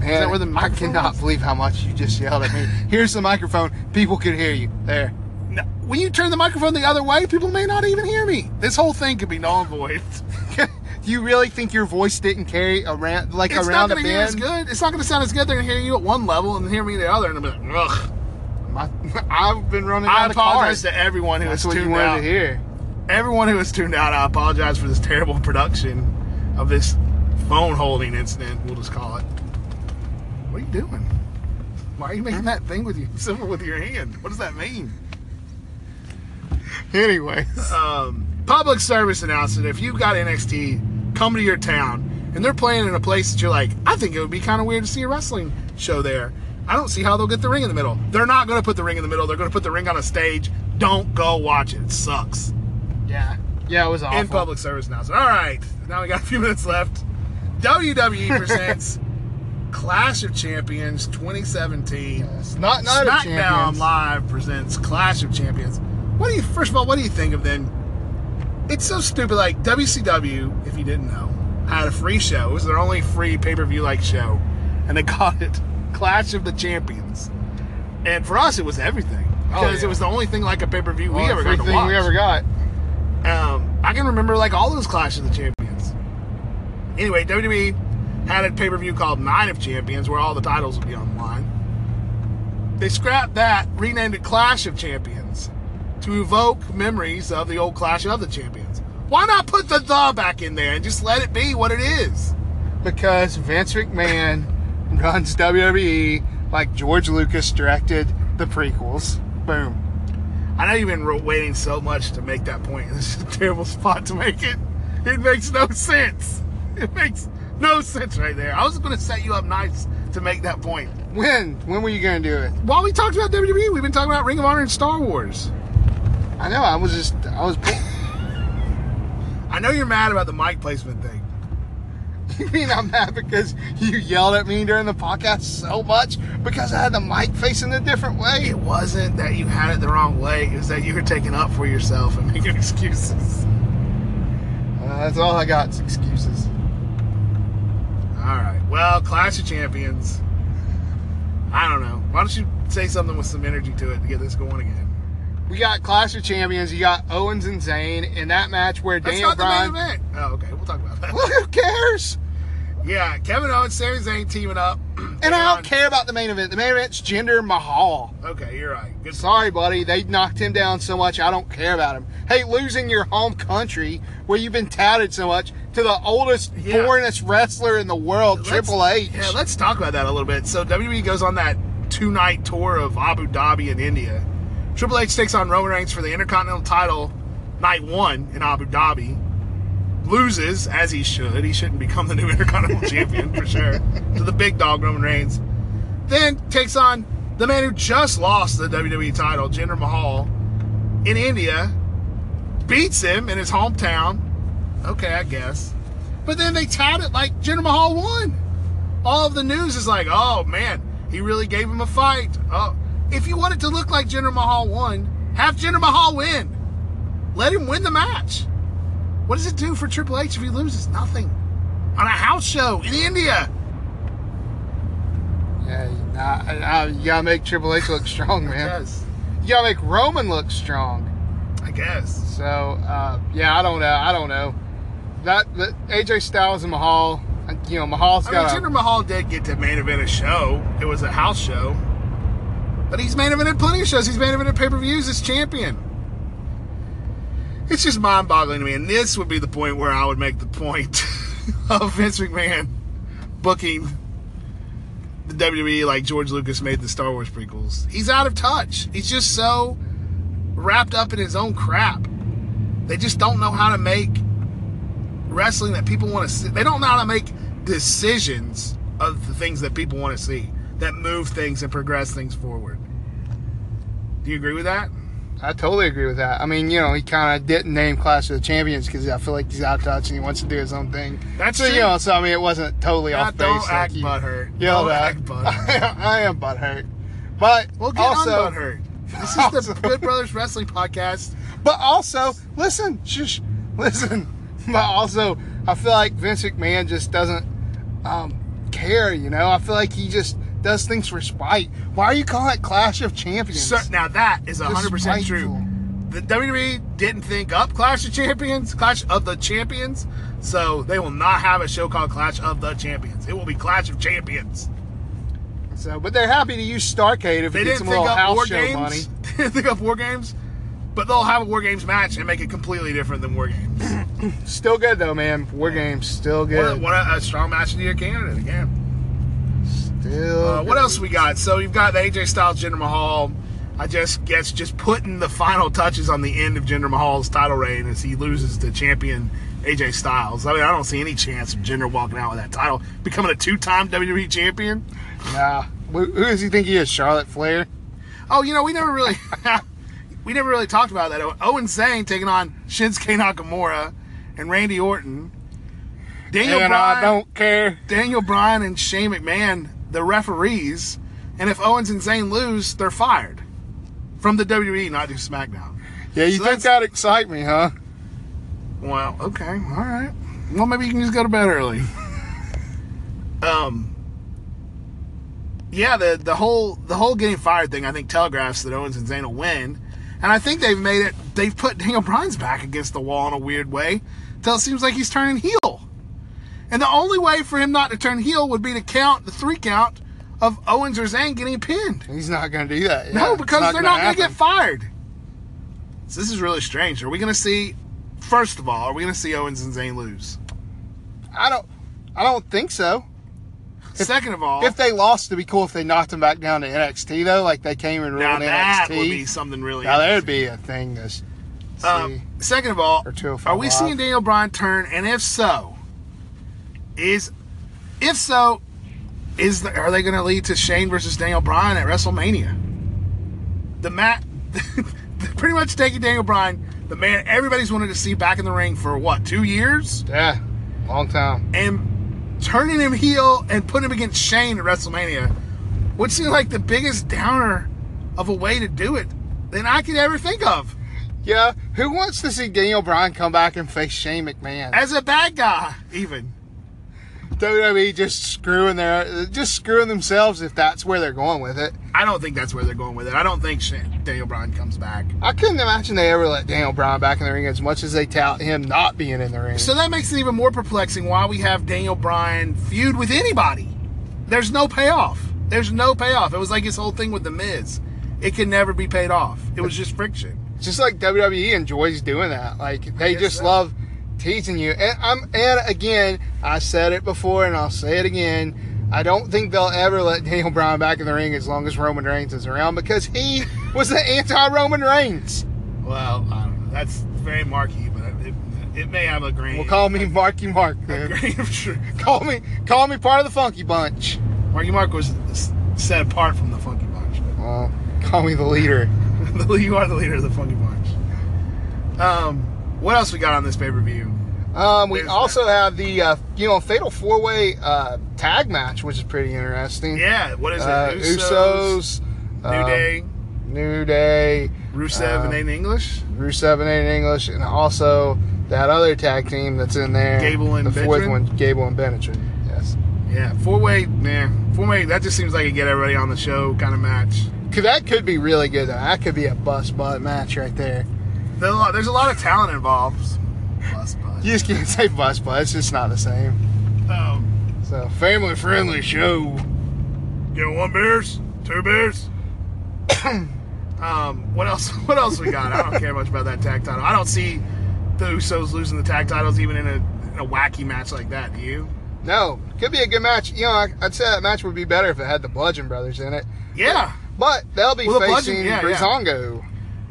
S1: Man,
S2: that where the
S1: I
S2: microphone
S1: cannot
S2: is?
S1: believe how much you just yelled at me. Here's the microphone. People could hear you. There.
S2: No, when you turn the microphone the other way, people may not even hear me. This whole thing could be null and void.
S1: you really think your voice didn't carry around like
S2: It's not
S1: around a
S2: going to hear as
S1: bend?
S2: good. It's not going to sound as good. They're going to hear you at one level and hear me at the other, and I'm like, ugh.
S1: My, I've been running
S2: I
S1: out of
S2: apologize
S1: cars.
S2: to everyone who was
S1: That's what you
S2: tuned
S1: wanted
S2: out.
S1: to hear.
S2: Everyone who was tuned out, I apologize for this terrible production of this phone holding incident. We'll just call it. What are you doing? Why are you making that thing with you symbol with your hand? What does that mean?
S1: Anyways,
S2: um, public service announcement. If you've got NXT, come to your town, and they're playing in a place that you're like, I think it would be kind of weird to see a wrestling show there. I don't see how they'll get the ring in the middle. They're not going to put the ring in the middle. They're going to put the ring on a stage. Don't go watch it. It sucks.
S1: yeah, yeah, it was awful.
S2: In public service announcement. All right, now we got a few minutes left. WWE presents Clash of Champions 2017.
S1: Yes. Not not a
S2: SmackDown
S1: champions.
S2: Live presents Clash of Champions. What do you first of all? What do you think of them? It's so stupid. Like WCW, if you didn't know, had a free show. It was their only free pay per view like show, and they called it Clash of the Champions. And for us, it was everything
S1: Oh,
S2: because
S1: yeah.
S2: it was the only thing like a pay per view we
S1: Well,
S2: ever got
S1: free
S2: to
S1: thing
S2: watch.
S1: we ever got.
S2: Um, I can remember like all those Clash of the Champions. Anyway, WWE had a pay per view called Night of Champions where all the titles would be on the line. They scrapped that, renamed it Clash of Champions to evoke memories of the old Clash of the Champions. Why not put the the back in there and just let it be what it is? Because Vince McMahon runs
S1: E
S2: WWE like George Lucas directed the prequels. Boom. I know you've been ro- waiting so much to make that point. This is a terrible spot to make it. It makes no sense. It makes no sense right there. I was going to set you up nice to make that point.
S1: When? When were you going to do it?
S2: While we talked about WWE, we've been talking about Ring of Honor and Star Wars.
S1: I know. I was just. I was.
S2: I know you're mad about the mic placement thing.
S1: you mean I'm mad because you yelled at me during the podcast so much because I had the mic facing a different way?
S2: It wasn't that you had it the wrong way, it was that you were taking up for yourself and making excuses.
S1: Uh, that's all I got. is excuses.
S2: All right. Well, Clash of Champions. I don't know. Why don't you say something with some energy to it to get this going again?
S1: We got Clash of Champions. You got Owens and Zayn in that match where
S2: That's
S1: Daniel
S2: not the
S1: Bryan.
S2: main event. Oh, okay. We'll talk about that.
S1: Well, who cares?
S2: yeah, Kevin Owens, Sami Zayn teaming up.
S1: And I
S2: Braun-
S1: don't care about the main event. The main event's Jinder Mahal.
S2: Okay, you're right. Good.
S1: Sorry, buddy. They knocked him down so much, I don't care about him. Hey, losing your home country where you've been touted so much to the oldest,
S2: Yeah.
S1: boringest wrestler in the world,
S2: Let's-
S1: Triple H.
S2: Yeah, let's talk about that a little bit. So WWE goes on that two-night tour of Abu Dhabi and India. Triple H takes on Roman Reigns for the Intercontinental title night one in Abu Dhabi. Loses, as he should. He shouldn't become the new Intercontinental Champion for sure. To the big dog Roman Reigns. Then takes on the man who just lost the WWE title, Jinder Mahal, in India. Beats him in his hometown. Okay, I guess. But then they tout it like Jinder Mahal won all of the news is like, oh man, he really gave him a fight. Oh, if you want it to look like Jinder Mahal won, have Jinder Mahal win. Let him win the match. What does it do for Triple H if he loses? Nothing. On a house show in India.
S1: Yeah, nah, I- I- you gotta make Triple H look strong,
S2: I
S1: man.
S2: guess.
S1: You gotta make Roman look strong.
S2: I guess.
S1: So, uh, yeah, I don't know. I don't know. That, that AJ Styles and Mahal, uh, you know, Mahal's
S2: I mean,
S1: got.
S2: Jinder Mahal did get to main event a show. It was a house show. But he's main evented plenty of shows. He's main evented pay per views as champion. It's just mind boggling to me. And this would be the point where I would make the point of Vince McMahon booking the WWE like George Lucas made the Star Wars prequels. He's out of touch. He's just so wrapped up in his own crap. They just don't know how to make wrestling that people want to see. They don't know how to make decisions of the things that people want to see that move things and progress things forward. Do you agree with that?
S1: I totally agree with that. I mean, you know, he kind of didn't name Clash of the Champions because I feel like he's out of touch and he wants to do his own thing.
S2: That's
S1: so,
S2: true.
S1: you know, so I mean, it wasn't totally
S2: Yeah,
S1: off base.
S2: don't
S1: like
S2: act
S1: you
S2: butthurt.
S1: yelled
S2: Don't
S1: at.
S2: act butthurt.
S1: I am butthurt. But
S2: Well, get
S1: also,
S2: on butthurt. This is
S1: also-
S2: the Good Brothers Wrestling Podcast.
S1: But also, listen, shush, listen. But also, I feel like Vince McMahon just doesn't um, care. You know, I feel like he just does things for spite. Why are you calling it Clash of Champions?
S2: So, now that is 100% true.
S1: Despiteful.
S2: The WWE didn't think up Clash of Champions, Clash of the Champions, so they will not have a show called Clash of the Champions. It will be Clash of Champions.
S1: So, but they're happy to use Starcade if
S2: They
S1: it gets
S2: didn't
S1: them a
S2: think
S1: little
S2: up
S1: house
S2: war
S1: show
S2: games.
S1: money.
S2: They didn't think up war games, but they'll have a war games match and make it completely different than war games.
S1: Still good though, man. War games still
S2: What, a,
S1: good.
S2: what a, a strong match of the year candidate again.
S1: Still.
S2: Uh, what
S1: good.
S2: else we got? So you've got the AJ Styles, Jinder Mahal. I just guess just putting the final touches on the end of Jinder Mahal's title reign as he loses to champion AJ Styles. I mean, I don't see any chance of Jinder walking out with that title, becoming a two-time WWE champion.
S1: Nah. Who, who does he think he is? Charlotte Flair.
S2: Oh, you know, we never really we never really talked about that. Owen Zane taking on Shinsuke Nakamura and Randy Orton. Daniel
S1: and I
S2: Bryan,
S1: don't care.
S2: Daniel Bryan and Shane McMahon, the referees, and if Owens and Zane lose, they're fired from the WWE, not just SmackDown.
S1: Yeah, you
S2: So that's-
S1: think that excite me, huh?
S2: Well, okay, all right. Well, maybe you can just go to bed early. um, yeah, the the whole the whole getting fired thing, I think telegraphs that Owens and Zayn will win, and I think they've made it. They've put Daniel Bryan's back against the wall in a weird way, till it seems like he's turning heel. And the only way for him not to turn heel would be to count the three count of Owens or Zayn getting pinned.
S1: He's not going to do that. Yeah,
S2: No,
S1: it's
S2: because they're
S1: gonna
S2: not going to
S1: happen.
S2: get fired. So this is really strange. Are we going to see? First of all, are we going to see Owens and Zayn lose?
S1: I don't. I don't think so.
S2: Second of all,
S1: If they lost, it'd be cool if they knocked them back down to NXT though, like they came and
S2: now
S1: ruined
S2: that
S1: NXT.
S2: would be something really.
S1: now there'd be a thing that's.
S2: Um, second of all,
S1: Or 205
S2: are we
S1: Live.
S2: seeing Daniel Bryan turn? And if so, is if so, is the, are they going to lead to Shane versus Daniel Bryan at WrestleMania? The mat, pretty much taking Daniel Bryan, the man everybody's wanted to see back in the ring for what two years,
S1: yeah, long time.
S2: and turning him heel and putting him against Shane at WrestleMania would seem like the biggest downer of a way to do it than I could ever think of
S1: Yeah, who wants to see Daniel Bryan come back and face Shane McMahon?
S2: as a bad guy, even.
S1: WWE E just screwing their, just screwing themselves if that's where they're going with it.
S2: I don't think that's where they're going with it. I don't think Sha- Daniel Bryan comes back.
S1: I couldn't imagine they ever let Daniel Bryan back in the ring as much as they tout him not being in the ring.
S2: So that makes it even more perplexing why we have Daniel Bryan feud with anybody. There's no payoff. There's no payoff. It was like his whole thing with The Miz. It can never be paid off. It was just friction.
S1: just like WWE enjoys doing that. Like they
S2: guess
S1: just
S2: so.
S1: love teasing you. And I'm and again, I said it before and I'll say it again. I don't think they'll ever let Daniel Bryan back in the ring as long as Roman Reigns is around because he was the anti-Roman Reigns.
S2: Well, I don't know. That's very marky, but it, it may have a grain.
S1: Well, call me Marky Mark.
S2: a
S1: Then.
S2: grain of truth.
S1: Call me call me part of the Funky Bunch.
S2: Marky Mark was s- set apart from the Funky Bunch.
S1: Well, Uh, call me the leader.
S2: you are the leader of the Funky Bunch. Um, what else we got on this pay per view?
S1: Um, we
S2: There's
S1: also have the uh, you know fatal four way uh, tag match, which is pretty interesting.
S2: Yeah, what is it?
S1: Uh, Usos,
S2: New
S1: uh,
S2: Day,
S1: New Day,
S2: Rusev, and
S1: uh,
S2: Aiden English.
S1: Rusev and Aiden English, and also that other tag team that's in there.
S2: Gable and
S1: the fourth
S2: Benjamin?
S1: one, Gable and Benetton. Yes.
S2: Yeah, four way, man, four way. That just seems like a get everybody on the show kind of match.
S1: Could, that could be really good. Though. That could be a bust butt match right there.
S2: There's a lot, there's a lot of talent involved. Plus, but,
S1: You just can't say bust butt. It's just not the same.
S2: um,
S1: So family friendly show.
S2: you know, one beers, two beers. um, what else? What else we got? I don't care much about that tag title. I don't see the Usos losing the tag titles even in a, in a wacky match like that. Do you?
S1: No, could be a good match. You know, I- I'd say that match would be better if it had the Bludgeon Brothers in it.
S2: Yeah.
S1: But they'll be
S2: Well, the Bludgeon-
S1: facing
S2: yeah, yeah.
S1: Brizongo.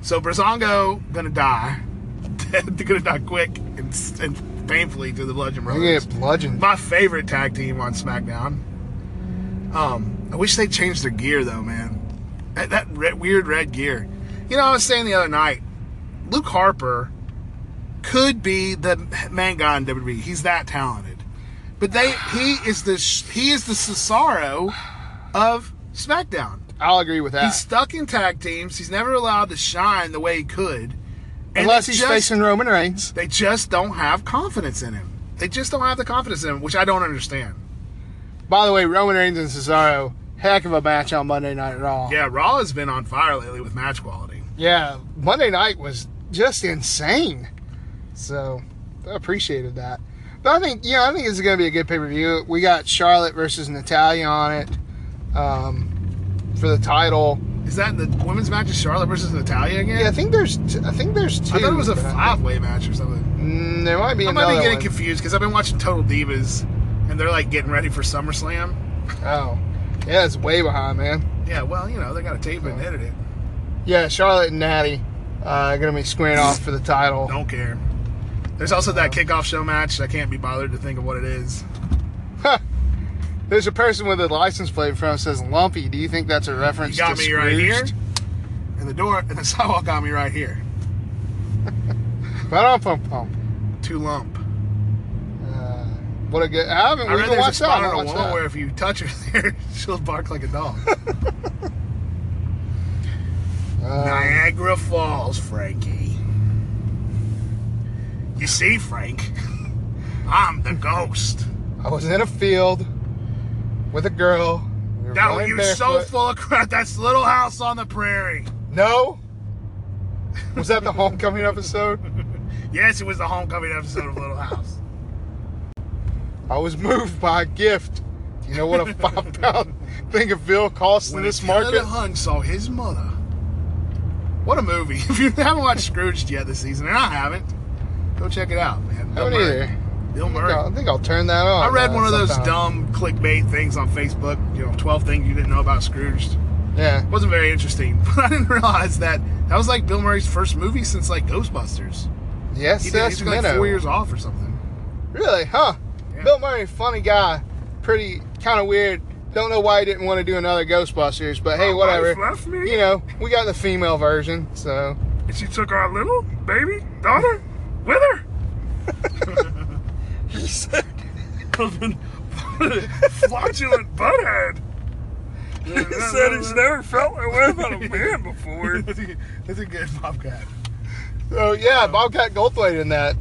S2: So Brazongo gonna die. They're gonna die quick and, and painfully to the Bludgeon
S1: They're
S2: Brothers.
S1: gonna get bludgeoned.
S2: My favorite tag team on SmackDown. Um, I wish they changed their gear though, man. That, that red, weird red gear. You know, I was saying the other night, Luke Harper could be the man guy in WWE. He's that talented. But they, he is the sh- he is the Cesaro of SmackDown.
S1: I'll agree with that.
S2: He's stuck in tag teams. He's never allowed to shine the way he could. And
S1: Unless
S2: they
S1: he's
S2: just-
S1: facing Roman Reigns.
S2: They just don't have confidence in him. They just don't have the confidence in him, which I don't understand.
S1: By the way, Roman Reigns and Cesaro, heck of a match on Monday Night Raw.
S2: Yeah, Raw has been on fire lately with match quality.
S1: Yeah, Monday night was just insane. So I appreciated that. But I think, yeah, I think it's going to be a good pay per view. We got Charlotte versus Natalia on it um, for the title.
S2: Is that the women's match is Charlotte versus Natalia again?
S1: Yeah, I think there's, t- I think there's two.
S2: I thought it was a
S1: but I-
S2: five-way match or something.
S1: Mm, there might be
S2: I
S1: another
S2: might be getting
S1: one.
S2: confused because I've been watching Total Divas, and they're like getting ready for SummerSlam.
S1: oh, yeah, it's way behind, man.
S2: Yeah, well, you know they got to tape it and edit it.
S1: Yeah, Charlotte and Natty uh, going to be squaring off for the title.
S2: Don't care. There's also that kickoff show match. I can't be bothered to think of what it is.
S1: There's a person with a license plate in front that says Lumpy. Do you think that's a reference?
S2: You got
S1: to
S2: me right here,
S1: Scrooged?
S2: and the door and the sidewalk got me right here.
S1: Ba-dum-bum-bum.
S2: Too lump.
S1: Uh, what a good. I haven't.
S2: I
S1: we
S2: read
S1: can
S2: there's a
S1: watch that.
S2: spot
S1: I
S2: on a
S1: watch
S2: wall
S1: that.
S2: where if you touch her there, she'll bark like a dog.
S1: Uh,
S2: Niagara Falls, Frankie. You see, Frank, I'm the ghost.
S1: I was in a field with a girl. We were
S2: Now
S1: running
S2: you so
S1: barefoot.
S2: full of crap. That's Little House on the Prairie.
S1: No. Was that the homecoming episode?
S2: Yes, it was the homecoming episode of Little House.
S1: I was moved by a gift. Do you know what a five pound thing of veal costs in this
S2: Taylor
S1: market?
S2: Hun saw his mother What a movie! If you haven't watched Scrooged yet this season, and I haven't, go check it out, man. Bill
S1: Haven't
S2: Murray.
S1: either.
S2: Bill
S1: I think, I'll,
S2: Murray.
S1: I think I'll turn that on.
S2: I read
S1: uh,
S2: one of those
S1: sometime.
S2: dumb clickbait things on Facebook. You know, twelve things you didn't know about Scrooged.
S1: Yeah.
S2: wasn't very interesting, but I didn't realize that that was like Bill Murray's first movie since like Ghostbusters.
S1: Yes,
S2: He, did, he
S1: that's
S2: took like
S1: Minnow.
S2: four years off or something.
S1: Really? Huh?
S2: Yeah.
S1: Bill Murray, funny guy, pretty kind of weird. Don't know why he didn't want to do another Ghostbusters, but hey,
S2: My
S1: whatever.
S2: wife left me.
S1: You know, we got the female version, so
S2: And she took our little baby daughter with her. he said, "Flatulent butthead." He said he's never felt that way about a man before. that's, a, that's a good bobcat.
S1: so yeah, Bobcat Goldthwait in that,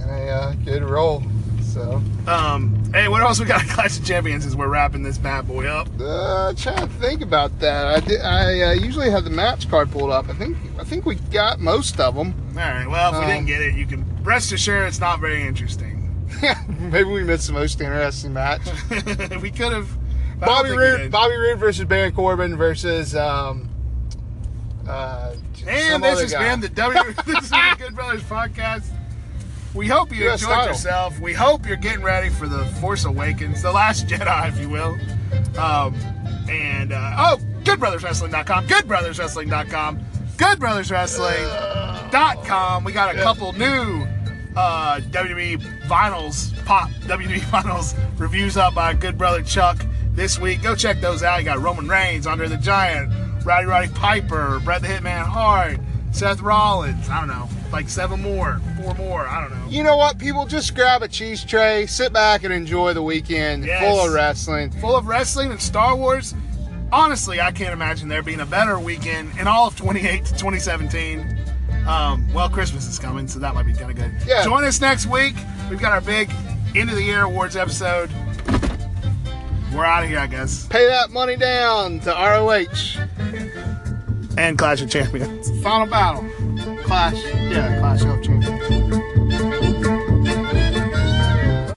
S1: and a uh, good role. So
S2: Um, hey, what else we got? Clash of Champions as we're wrapping this bad boy up.
S1: uh, trying to think about that. I did, I uh, usually have the match card pulled up. I think I think we got most of them.
S2: All right. Well, if we
S1: Um,
S2: didn't get it, you can rest assured it's not very interesting.
S1: Maybe we missed the most interesting match.
S2: we could have.
S1: Bobby Roode, Bobby Roode versus Baron Corbin versus um, uh, some
S2: And this
S1: other
S2: has
S1: guy.
S2: been the W. this is the Good Brothers podcast. We hope you
S1: US
S2: enjoyed
S1: title.
S2: yourself. We hope you're getting ready for the Force Awakens, the Last Jedi, if you will. Um, and uh, oh, goodbrotherswrestling.com, goodbrotherswrestling.com, goodbrotherswrestling.com. We got a couple new uh, WWE finals, pop WWE finals reviews up by Good Brother Chuck this week. Go check those out. You got Roman Reigns, Andre the Giant, Rowdy Roddy Piper, Bret the Hitman Hart, Seth Rollins. I don't know, like seven more, four more. I don't know.
S1: You know what, people? Just grab a cheese tray, sit back, and enjoy the weekend
S2: Yes.
S1: full of wrestling.
S2: full of wrestling and Star Wars. Honestly, I can't imagine there being a better weekend in all of 28 to 2017. Um, well, Christmas is coming, so that might be kind of good.
S1: Yeah.
S2: Join us next week. We've got our big end of the year awards episode. We're out of here, I guess.
S1: Pay that money down to ROH.
S2: And Clash of Champions.
S1: Final battle. Clash. Yeah, Clash of Champions.